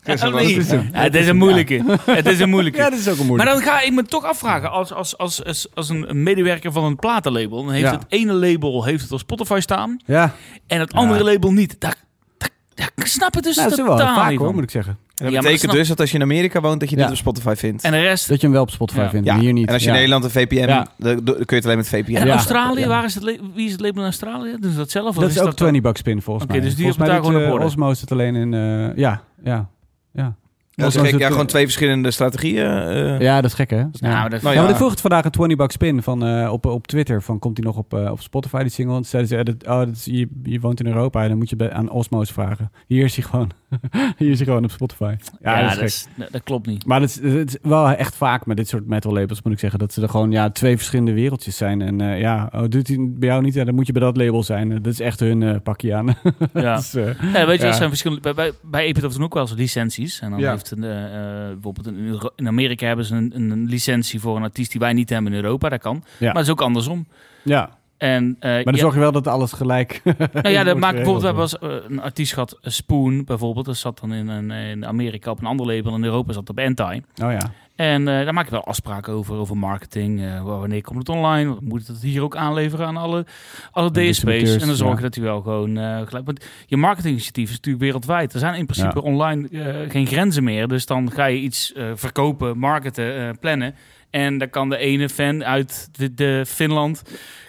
Ah,
Dat
nee.
is hem.
Ja, Het is een moeilijke. Het is een moeilijke.
dat is ook een
Maar dan ga ik me toch afvragen, als, als, als, als, als een medewerker van een platenlabel, dan heeft
Ja.
het ene label heeft het op Spotify staan
Ja,
en het andere label niet. Daar, daar, daar- ik snap het dus
nou, dat is wel
totaal
vaak
niet
hoor,
van.
moet ik zeggen.
En dat
Ja, maar
betekent
snap-
dus dat als je in Amerika woont, dat je
Ja.
dit op Spotify vindt.
En de rest,
Dat je hem wel op Spotify
Ja.
vindt,
ja.
maar hier niet.
en als je
Ja.
in Nederland een VPN,
Ja.
dan, dan kun je het alleen met VPN.
en
Ja.
Australië,
Ja.
waar is het le- wie is het label in Australië? Doen ze dat zelf? of
Dat is ook
dat
20 bucks pin volgens
Oké,
mij.
dus die
volgens
hebben
mij
daar gewoon
doet,
op
eh,
orde.
Osmos het alleen in... eh, ja, ja, ja.
Dat is
Osmos
gek.
het,
Ja,
eh,
gewoon twee verschillende strategieën. eh.
Ja, dat is gek hè?
Nou, dat
Nou
ja,
ja.
maar ik vroeg het vandaag een 20 bucks pin van, eh, op, op Twitter. Van, komt die nog op, eh, op Spotify, die single? En toen zeiden ze, eh, dat, oh, dat is- je, je woont in Europa en dan moet je bij, aan Osmo's vragen. Hier is hij gewoon, hier is hij gewoon op Spotify. Ja, dat is gek.
nee, dat klopt niet.
Maar het is, het is wel echt vaak met dit soort metal labels, moet ik zeggen. Dat ze er gewoon ja, twee verschillende wereldjes zijn. En eh, ja, oh, doet hij bij jou niet, ja, dan moet je bij dat label zijn. Eh, dat is echt hun eh, pakje aan.
Ja.
Dus, eh,
Ja, weet je,
Ja.
dat zijn verschillende. Bij, bij, bij Epic hebben ze ook wel eens licenties. En dan
Ja.
heeft een, eh, eh, bijvoorbeeld in, Euro- in Amerika hebben ze een, een, een licentie voor een artiest die wij niet hebben in Europa. Dat kan.
Ja.
Maar het is ook andersom.
ja.
En, eh,
Maar dan
ja,
zorg je wel dat alles gelijk.
nou ja, dat
wordt
maakt bijvoorbeeld, we hebben
geregeld.
als, eh, een artiest gehad, eh, Spoon bijvoorbeeld. Dat zat dan in, een, in Amerika op een ander label. In Europa zat het op Anti.
Oh ja.
En eh, daar maak je wel afspraken over, over marketing. eh, wa- wanneer komt het online? Moet het hier ook aanleveren aan alle, alle DSP's?
distributeurs,
En dan zorg je
ja.
dat je wel gewoon eh, gelijk... Want je marketinginitiatief is natuurlijk wereldwijd. Er zijn in principe
Ja.
online eh, geen grenzen meer. Dus dan ga je iets eh, verkopen, marketen, eh, plannen. En dan kan de ene fan uit de, de Finland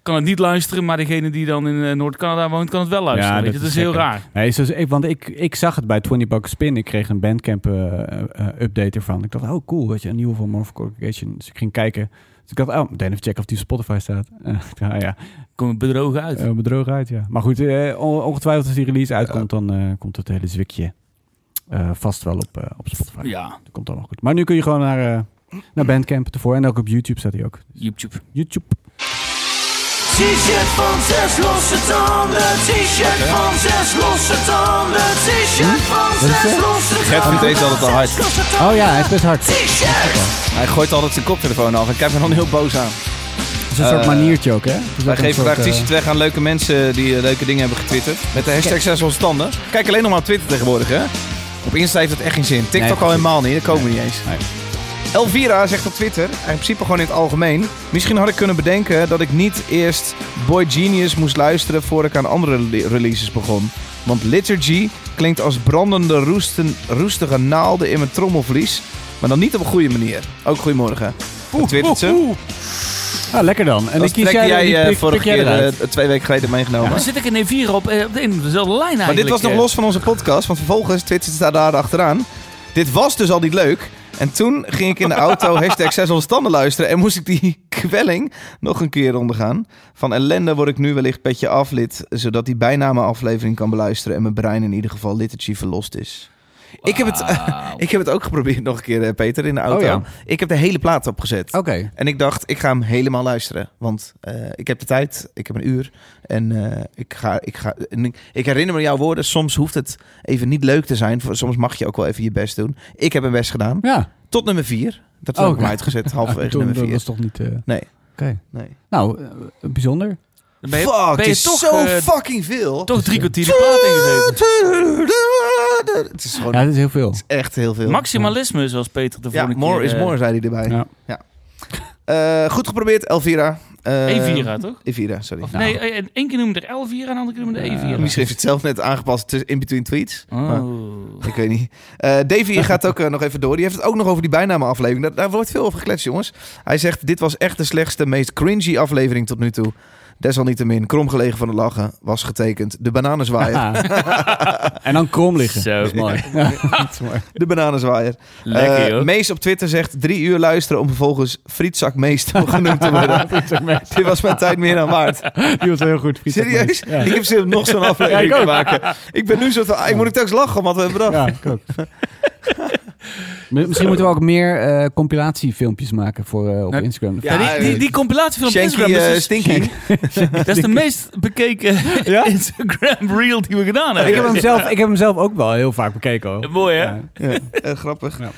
kan het niet luisteren, maar degene die dan in eh, Noord-Canada woont, kan het wel luisteren.
Ja,
weet je?
dat
dat is,
is
heel
gek, hè?
raar.
Nee, zoals ik, want ik, ik zag het bij 20 Bucks Spin. Ik kreeg een Bandcamp eh, eh, update ervan. Ik dacht, oh cool, weet je, een nieuwe van Morph Corporation. Dus ik ging kijken. Dus ik dacht, oh, meteen even checken of die op Spotify staat. Eh, ja, ja.
Komen bedrogen uit.
Eh, bedroog uit, ja. Maar goed, eh, on- ongetwijfeld als die release uitkomt, dan eh, komt het hele zwikje eh, vast wel op, eh, op Spotify.
Ja,
Dat komt allemaal goed. Maar nu kun je gewoon naar, eh, naar Bandcamp ervoor. En ook op YouTube staat hij ook.
YouTube.
YouTube.
T-shirt van zes losse tanden. T-shirt van zes losse tanden. T-shirt van
Hm? Wat is
zes
dat?
losse tanden.
Gert vindt deze altijd al hard.
Zes losse
Oh
tanden.
ja, hij is best hard. Het
T-shirt.
Hij gooit altijd zijn koptelefoon af. Ik kijk me dan heel boos aan.
is een soort
Eh,
maniertje ook, hè? Het is
Wij
ook een
geven
soort, eh,
graag t-shirts weg aan leuke mensen die eh, leuke dingen hebben getwitterd. Met de hashtag 6 onze tanden. Kijk alleen nog maar op Twitter tegenwoordig, hè? Op Insta heeft het echt geen zin. TikTok
Nee,
al
precies.
helemaal niet, daar komen we niet eens.
Nee.
Elvira zegt op Twitter, en in principe gewoon in het algemeen. Misschien had ik kunnen bedenken dat ik niet eerst Boy Genius moest luisteren voor ik aan andere li- releases begon. Want Liturgy klinkt als brandende roesten, roestige naalden in mijn trommelvlies. Maar dan niet op een goede manier. Ook goedemorgen. Dat twittert ze.
eh, ah, lekker dan. En
Dat
dan
trek
kies jij,
jij
die
eh,
pik-
vorige
pik jij
keer,
eruit.
eh, twee weken geleden
Ja,
meegenomen.
dan zit ik in E4 op, eh, op de een en dezelfde lijn eigenlijk.
Maar dit was nog
eh.
los van onze podcast, want vervolgens twittert ze daar achteraan. Dit was dus al niet leuk. En toen ging ik in de auto hashtag 600 standen luisteren en moest ik die kwelling nog een keer ondergaan. Van ellende word ik nu wellicht petje aflid, zodat die bijna mijn aflevering kan beluisteren en mijn brein in ieder geval liturgy verlost is. Ik, heb het,
Wauw.
ik heb het ook geprobeerd nog een keer, eh, Peter, in de auto.
Oh ja.
Ik heb de hele plaat opgezet.
Oh
Oké.
En ik dacht, ik ga hem helemaal luisteren. Want eh, ik heb de tijd, ik heb een uur. En, eh, ik, ga, ik, ga, en ik, ik herinner me jouw woorden. Soms hoeft het even niet leuk te zijn. Voor- Soms mag je ook wel even je best doen. Ik heb mijn best gedaan.
Ja.
Tot nummer vier. Dat heb
Oh,
ik hem
ja.
uitgezet, halverwege
Toen-
nummer
dat
vier.
was toch niet... eh,
Nee.
Oké.
Nee.
Nou, eh, bijzonder.
Dan ben je,
Fuck,
ben
het
je
is
toch,
zo
eh,
fucking veel.
toch drie kwartier de plaat ingegeven.
Het is gewoon
Ja, dat is heel veel.
echt heel veel.
Maximalisme, zoals Peter de
ja,
vorige
more
keer...
is
eh,
more, zei hij erbij.
Ja.
Eh, goed geprobeerd, Elvira. Eh,
Evira, toch?
Evira, sorry.
Of
nou.
nee, eh, één keer noemde er Elvira en de andere keer noemde
Ja,
Evira.
Misschien heeft het zelf net aangepast tussen- in between tweets. Maar
Oh.
ik weet niet. Eh Davy gaat ook eh, nog even door. Die heeft het ook nog over die bijnameaflevering. Daar, daar wordt veel over gekletst, jongens. Hij zegt, dit was echt de slechtste, meest cringy aflevering tot nu toe. Desalniettemin, kromgelegen van het lachen, was getekend. De bananenzwaaier.
Ah. en dan krom liggen.
Zo.
Dat is mooi. Ja, dat is mooi.
De bananenzwaaier.
Lekker,
Eh,
joh.
Mees op Twitter zegt, drie uur luisteren om vervolgens frietzakmeester genoemd te worden. dit was mijn tijd meer dan waard.
Die was heel goed. Friet
Serieus?
Ja.
Ik heb zin om nog zo'n
Ja,
aflevering
ik ook.
te maken. Ik ben nu zo van, ah, ik moet ik telkens lachen om wat we hebben bedacht.
Ja, ik ook. Mi- Misschien moeten we ook meer eh, compilatiefilmpjes maken voor, eh, op
Nou,
Instagram.
Ja,
Ja, die, die, die compilatie van
Shanky
Instagram, dat
eh,
is, dus-
Stinky.
dat is de meest bekeken
Ja?
Instagram reel die we gedaan
Ik, heb
hebben.
hem zelf, ik heb hem zelf ook wel heel vaak bekeken. Hoor.
Mooi, hè?
Ja.
Ja, eh, grappig.
Ja.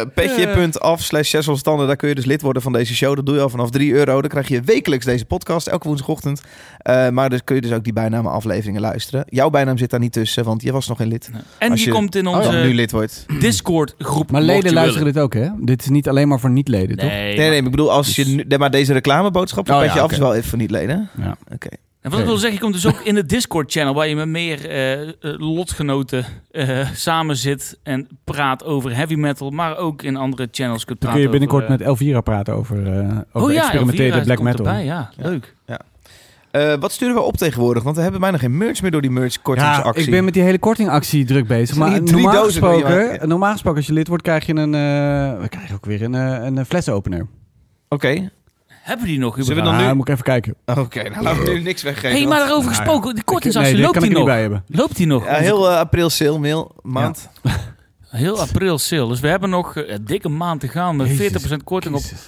Eh, Petje.af slash 6 standen. Daar kun je dus lid worden van deze show. Dat doe je al vanaf 3 euro. Dan krijg je wekelijks deze podcast, elke woensdagochtend. Eh, maar dan kun je dus ook die bijnamen afleveringen luisteren. Jouw bijnaam zit daar niet tussen, want je was nog geen lid.
En
Als
je,
je-
komt in
Als
onze
je nu lid wordt.
Discord-groep.
Maar
mocht
leden
je
luisteren
willen.
dit ook, hè? Dit is niet alleen maar voor niet-leden, toch?
Nee.
Nee, nee, ik bedoel, als je
Dus-
nu, nee, maar deze reclameboodschap van
Oh,
Petje
ja,
af is
oké.
wel even niet leden.
Ja.
En wat ik wil zeggen, je komt dus ook in de Discord-channel waar je met meer eh, eh, lotgenoten eh, samen zit en praat over heavy metal, maar ook in andere channels kunt
Dan
praten.
kun je binnenkort
over, eh,
met Elvira praten over, eh over
oh ja,
experimentele
Elvira
black
komt
metal.
Erbij, ja, leuk.
Eh, wat sturen we op tegenwoordig? Want we hebben bijna geen merch meer door die
Ja,
merch-kortingsactie.
ik ben met die hele kortingactie druk bezig.
Zijn hier
Maar
drie
normaal
dozen wil je
gesproken,
maken?
normaal gesproken, als je lid wordt, krijg je een, eh, we krijgen ook weer een, eh, een eh, flessenopener.
Oké,
Hebben die nog
Zullen we
überhaupt?
dan
Ah,
nu-
moet ik even kijken.
oké. nou laten we nu niks
Hé,
weggeven.
hey,
want-
maar daarover gesproken, de kortingsactie,
Nee, daar
loopt
kan ik
die
er
nog?
niet bij hebben.
Loopt die nog?
Ja, heel eh, april sale, mail, maand.
Heel april sale. Dus we hebben nog eh, een dikke maand te gaan met
Jezus
40% korting op Ah, dus-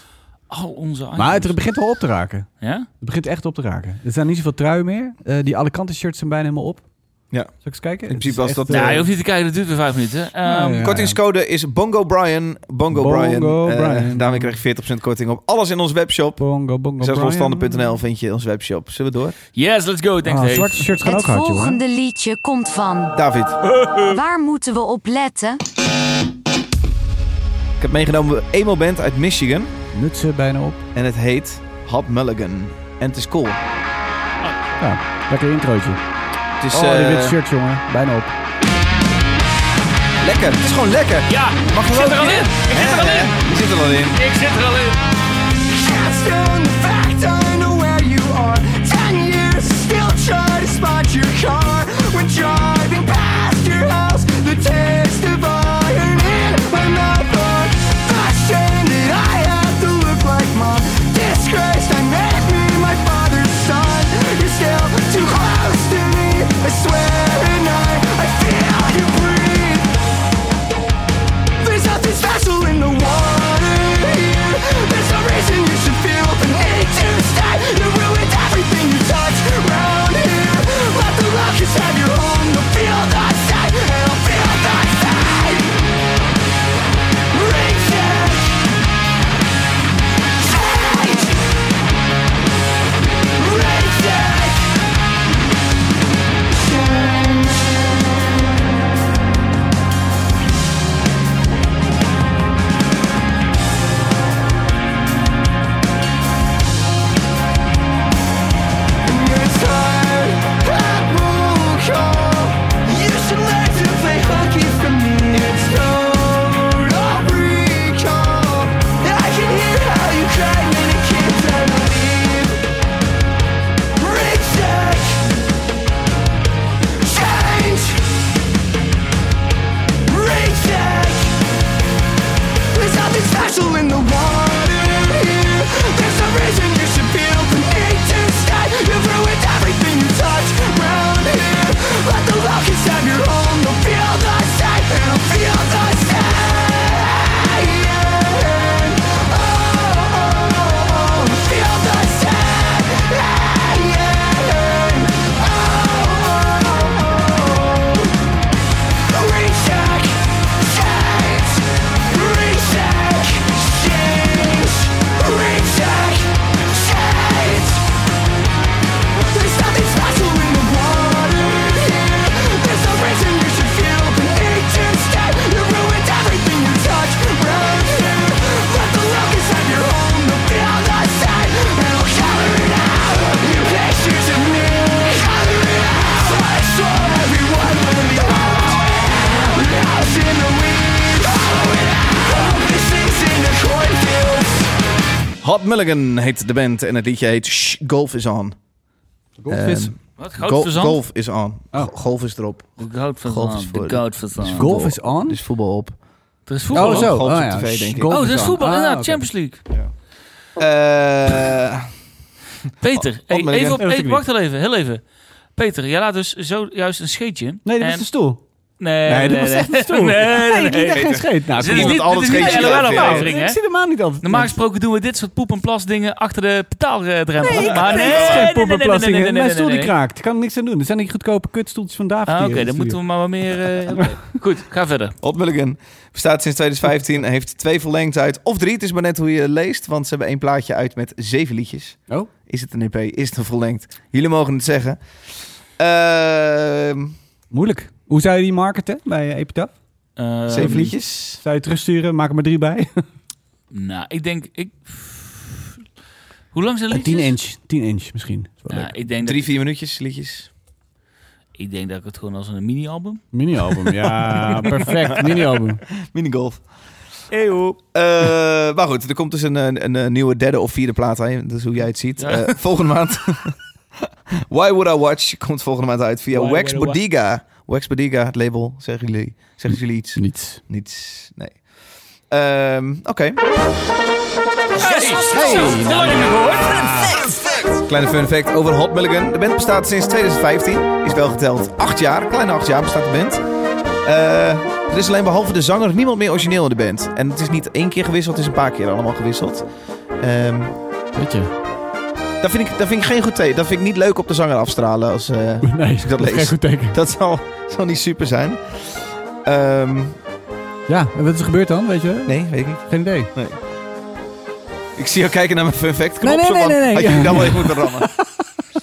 al onze items.
Maar het begint wel op te raken.
Ja?
Het begint echt op te raken. Er zijn niet zoveel trui meer. Eh, die Alicante shirts zijn bijna helemaal op.
Ja.
Zal ik eens kijken?
In principe was dat,
Nou,
eh,
je hoeft niet te kijken, dat duurt weer vijf minuten. Ehm,
ja.
Kortingscode is Bongo Brian. Bongo,
Bongo
Brian. Eh,
Brian.
daarmee krijg je 40% korting op alles in onze webshop.
Bongo, bongo,
Zeslosstanden.nl vind je onze webshop. Zullen we door?
Yes, let's go. Thanks,
Ah,
Dave.
zwarte shirts gaan
Het
ook hard, jongen.
volgende liedje komt van.
David,
Waar moeten we op letten?
ik heb meegenomen een emo band uit Michigan.
Mutsen bijna op.
En het heet Hot Mulligan. En het is cool.
Ja, lekker introotje.
Het is
oh, die
eh, dus
witte shirt, jongen. Bijna op.
lekker. Het is gewoon lekker.
Ja,
Mag
ik zit er al in. Ik zit er al in.
Je Eh, zit er al in.
Ik zit er al in.
Cast on the fact I know where you are. Ten years still try to spot your car. When driving past your house, the taste of iron in my mouth. are Fashion that I have to look like mom. Disgraced, I made me my father's son. You're still too close to me. I swear at night, I feel you breathe. There's nothing special in the water here. There's no reason you should feel the need to stay. You ruined everything you touch round here. Let the locusts have your home. You'll feel the same. It'll feel the same. Ring check. Change. Ring check. Change. There's nothing special in the water here. There's no reason you should feel the need to stay. You've ruined everything you touch round here. Let the locusts have your home. They'll feel the same. They'll feel the same. Oh, oh, oh, feel the same. Oh, oh, oh. Recheck, change. Recheck, change. Recheck, change. There's nothing special in the water here. There's no reason you should feel the need to stay. You ruined everything you touch around here. Let the locusts have your home. They'll feel the same. It'll color it out. You pictures of me. Color it out. Flash on everyone when the House in the Oh, weeds. Follow it out. Things in the cornfields.
Hot Mulligan heet de band. En het liedje heet Shh, Golf is on.
Goldvis.
Ehm,
Wat?
Gol-
Goud verzand?
golf is on.
Oh.
Go- Golf is erop.
Goud
Golf is voor
verzand.
de-
Goud verzand.
Golf is on?
Dus voetbal op.
Er is voetbal.
Oh, zo.
Golf
Oh,
op
ja.
tv, denk ik.
Golf
Oh, er is
on.
voetbal.
Ah,
Inderdaad,
oké.
Champions League.
Eh,
Oh,
Peter, hey,
opmerking.
even op,
Nee,
hey,
dat ik niet.
wacht al even, heel even. Peter, jij laat dus zojuist een scheetje.
Nee, dat
En-
was de stoel.
Nee,
Nee, dat was echt een stoel.
Nee, nee, nee.
ik liet echt geen scheet. Nou,
Dit is
kom op.
niet,
Altijd
dit is niet de
scheetjes laten, ja.
LOL-aflevering,
Oh, Ik
hè?
zie de maan niet altijd.
Normaal gesproken doen we dit soort poep- en plasdingen achter de betaaldrempel.
Ah, Nee, ik
maar nee,
nee, het
nee,
is
nee,
geen
nee, nee, nee, nee, nee,
poppenplastingen.
nee,
Mijn stoel
nee,
die
nee.
kraakt. Ik kan er niks aan doen. Er zijn die goedkope kutstoeltjes van David
Ah,
hier
Oké,
in de
dan
studio.
moeten we maar wat meer... eh, oké. Goed, ga verder.
Hot Mulligan bestaat sinds 2015 en heeft twee verlengd uit. Of drie, het is maar net hoe je het leest. Want ze hebben één plaatje uit met zeven liedjes.
Oh,
Is het een EP? Is het een verlengd? Jullie mogen het zeggen. Ehm
moeilijk. Hoe zou je die marketen bij eh, Epitaph?
Ehm,
zeven liedjes.
Zou je het terugsturen? Maak er maar drie bij.
Nou, ik denk... Ik... Hoe lang zijn de liedjes?
10 inch. 10 inch misschien. Is wel
Nou,
leuk.
ik, denk dat,
Drie, vier minuutjes liedjes.
ik denk dat ik het gewoon als een mini-album...
Mini-album. Ja, perfect. Mini-album.
Minigolf. Eeuw. maar goed, er komt dus een, een, een, een nieuwe derde of vierde plaat aan. Dat is hoe jij het ziet.
Ja.
Eh, volgende maand. Why Would I Watch komt volgende maand uit via
Why
Wax
Would I Wa-
Bodega. Wax Bodega, het label. Zeggen jullie, zeggen jullie iets?
Niets.
Niets. Nee. Ehm, Oké.
Zo, dat heb ik gehoord.
Kleine fun fact over Hot Mulligan. De band bestaat sinds 2015. Is wel geteld acht jaar. Kleine acht jaar bestaat de band. Eh, er is alleen behalve de zanger niemand meer origineel in de band. En het is niet één keer gewisseld, het is een paar keer allemaal gewisseld. Ehm,
Weet je.
Dat vind, ik, dat vind ik geen goed teken. Dat vind ik niet leuk op de zanger afstralen. Als, eh,
Nee,
ik dat lees.
geen goed teken.
dat zal, zal niet super zijn. Ehm,
Ja, en wat is er gebeurd dan, weet je?
nee, weet ik niet.
Geen idee.
Ik zie jou kijken naar mijn fun fact. Knop,
Nee, nee,
zo van,
nee, nee, nee.
Had je die dan wel even moeten rammen.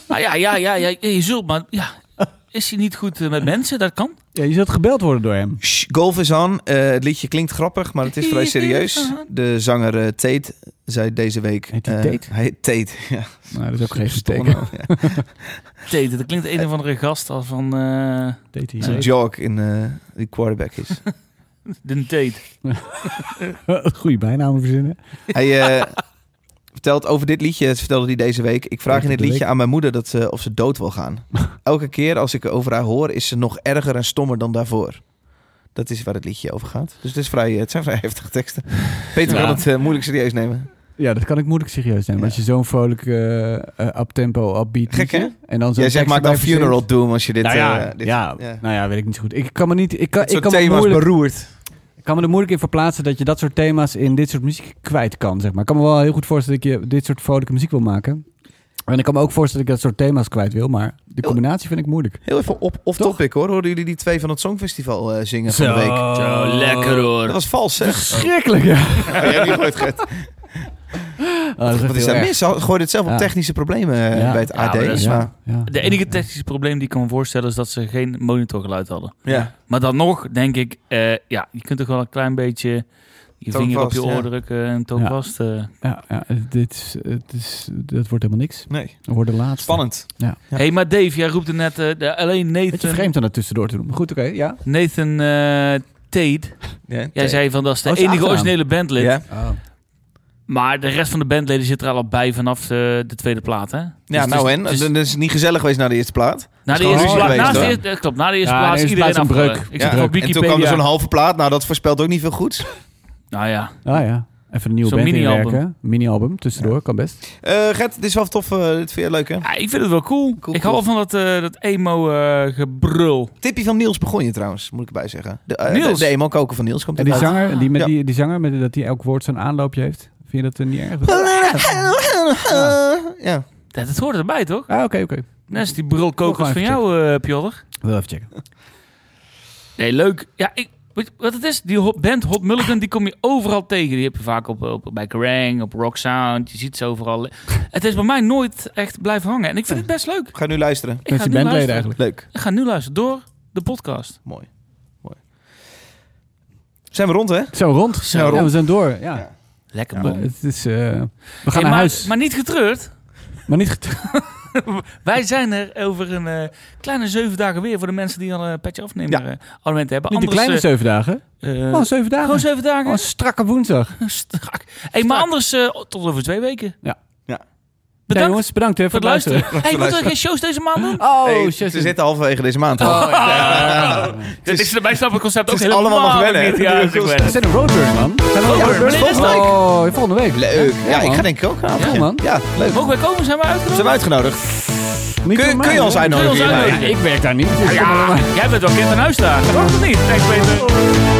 Nou ja, ja, ja, ja, je zult, maar ja, is hij niet goed eh, met mensen? Dat kan.
Ja, je zult gebeld worden door hem.
Shh, golf is aan. Eh, het liedje klinkt grappig, maar het is vrij serieus. De zanger eh, Tate zei deze week...
Heet die
eh,
Tate?
Hij heet Tate, ja.
Nou, dat is ook geen goed
Stomme
teken.
naam, ja.
Tete, dat klinkt een of andere gast als van eh,
Deed hij.
Het is een jog in eh, die quarterback is.
de Tate.
Goede bijnaam verzinnen.
Hij eh, vertelt over dit liedje, dat vertelde hij deze week. Ik vraag in dit liedje aan mijn moeder dat ze, of ze dood wil gaan. Elke keer als ik over haar hoor, is ze nog erger en stommer dan daarvoor. Dat is waar het liedje over gaat. Dus het, is vrij, eh, het zijn vrij heftige teksten. Peter
Ja.
wil het eh, moeilijk serieus nemen.
Ja, dat kan ik moeilijk serieus nemen.
Ja.
Als je zo'n vrolijk eh eh, uptempo, upbeat
Gek,
liedje, En dan zo'n
Jij zegt maak
tekst
dan
erbij verzint.
funeral doom als je dit...
Nou ja,
eh, dit
ja,
ja.
nou ja, weet ik niet zo goed. Ik kan me niet, ik kan,
Dit
ik
soort
kan me
thema's
moeilijk,
beroerd.
ik kan me er moeilijk in verplaatsen dat je dat soort thema's in dit soort muziek kwijt kan, zeg maar. Ik kan me wel heel goed voorstellen dat ik je dit soort vrolijke muziek wil maken. En ik kan me ook voorstellen dat ik dat soort thema's kwijt wil, maar de
Oh.
combinatie vind ik moeilijk.
Heel even op, off
Toch?
topic hoor. Hoorden jullie die twee van het Songfestival eh, zingen van de week?
Zo, Oh. lekker
Dat
hoor.
was vals, hè?
Schrikkelijk, ja.
Jij hebt niet gehoord, Gert.
Oh, dat
Wat is
heel
daar
erg.
mis? Ze gooiden het zelf
Ja.
op technische problemen eh,
Ja.
bij het
Ja, maar
AD.
dat is-
maar-
Ja, ja.
De enige technische probleem die ik kan me voorstellen is dat ze geen monitorgeluid hadden.
ja.
Maar dan nog, denk ik, eh, ja, je kunt toch wel een klein beetje je
Toon
vinger op je
vast,
oor
ja.
drukken en toon
Ja.
vast. eh.
Ja, ja, dit is, het is, dat wordt helemaal niks.
Nee.
Dat wordt de laatste.
Spannend.
Hé, hey, maar Dave, jij roept er net eh, de- alleen
Beetje
Nathan,
vreemd om dat tussendoor te doen. Maar goed, oké, ja.
Nathan eh, Tate.
Ja,
Jij zei van dat is de
Oh, is
enige
de achternaam.
originele bandlid.
Ja.
Ah.
Maar de rest van de bandleden zit er al bij vanaf eh, de, tweede plaat, hè? Dus
Ja,
het is-
nou en?
het is-
Dan is het niet gezellig geweest na de eerste plaat.
na de
gewoon
eerste
ruzie
plaat,
geweest,
naast de
hoor.
eerste, eh, klopt, na de eerste
Ja, de
plaats
eerste
iedereen
plaats een
afgevallen.
breuk.
Ik
Ja.
zit er op
En toen kwam er
Wikipedia.
zo'n halve plaat. Nou, dat voorspelt ook niet veel goeds.
Nou ja,
Ah ja. Even een nieuwe
Zo'n
band
mini-album.
inwerken. Mini-album, tussendoor, kan best.
Eh Gert, dit is wel tof. eh, dit vind je leuk, hè?
Ja, ik vind het wel cool.
Cool,
ik hou
cool.
wel van dat, eh, dat eh, emo-gebrul.
Tipje van Niels begon je trouwens, moet ik erbij zeggen. De, eh,
Niels?
de, de emo koken van Niels komt
En die
eruit.
zanger, die, met
Ja.
die, die zanger met, dat hij elk woord zo'n aanloopje heeft. Vind je dat eh, niet erg?
Eh, Ja.
Dat, dat hoort erbij, toch?
Ah, oké, oké.
Net als die brulkokers
Wil
van
gewoon even
jou, eh Pjodder.
Wil even checken.
Nee, leuk. Ja, ik, weet je wat het is? Die hot- band Hot Mulligan, die kom je overal tegen. Die heb je vaak op, op, bij Kerrang, op Rock Sound. Je ziet ze overal. Het is bij mij nooit echt blijven hangen. En ik vind het best leuk.
Ga nu luisteren.
Ik ga,
die
nu
bandleden
luisteren.
eigenlijk.
Leuk.
ik ga nu luisteren door de podcast.
Mooi. Mooi. Zijn we rond, hè?
Zo, rond.
Zo,
Ja,
rond.
we zijn door, ja.
Ja.
Lekker
Ja.
man.
Maar Het is, eh, we gaan
Hey,
naar
maar,
huis. Maar,
maar niet getreurd.
niet... get-
Wij zijn er over een eh, kleine zeven dagen weer voor de mensen die al een petje afnemen.
Ja.
eh, abonnementen hebben.
Niet de
Anders,
kleine
eh,
zeven dagen.
eh,
Oh, zeven dagen.
Gewoon zeven dagen.
Oh, een strakke woensdag.
Strak. Hey, maar anders eh, tot over twee weken.
Ja.
Ja.
Ja,
Bedankt
jongens, bedankt hè,
voor het luisteren. Hey, moeten we geen shows deze maand doen?
Oh,
Hey,
shit. Oh,
ze zitten halverwege deze maand.
Dat is bij snap het concept ook
is allemaal nog wennen, hè?
niet. Ja, dat is ook
We
wennen.
zijn een roadburn, man. We zijn een
Ja,
roadburn.
wanneer is het?
Oh, volgende week.
Leuk. Ja, ik
man.
ga denk ik ook gaan.
Ja, man.
Ja, leuk.
Mogen wij komen? Zijn we uitgenodigd?
Zijn we uitgenodigd?
Niet
Kun,
voor
kun je
mij,
ons
hoor.
Kun je ons
uitnodigen? hierbij?
uitnodigen?
Ik werk daar niet. dus kom maar
Ja,
naar mij.
jij bent wel kind aan huis daar. Dat is niet. Thanks, Peter.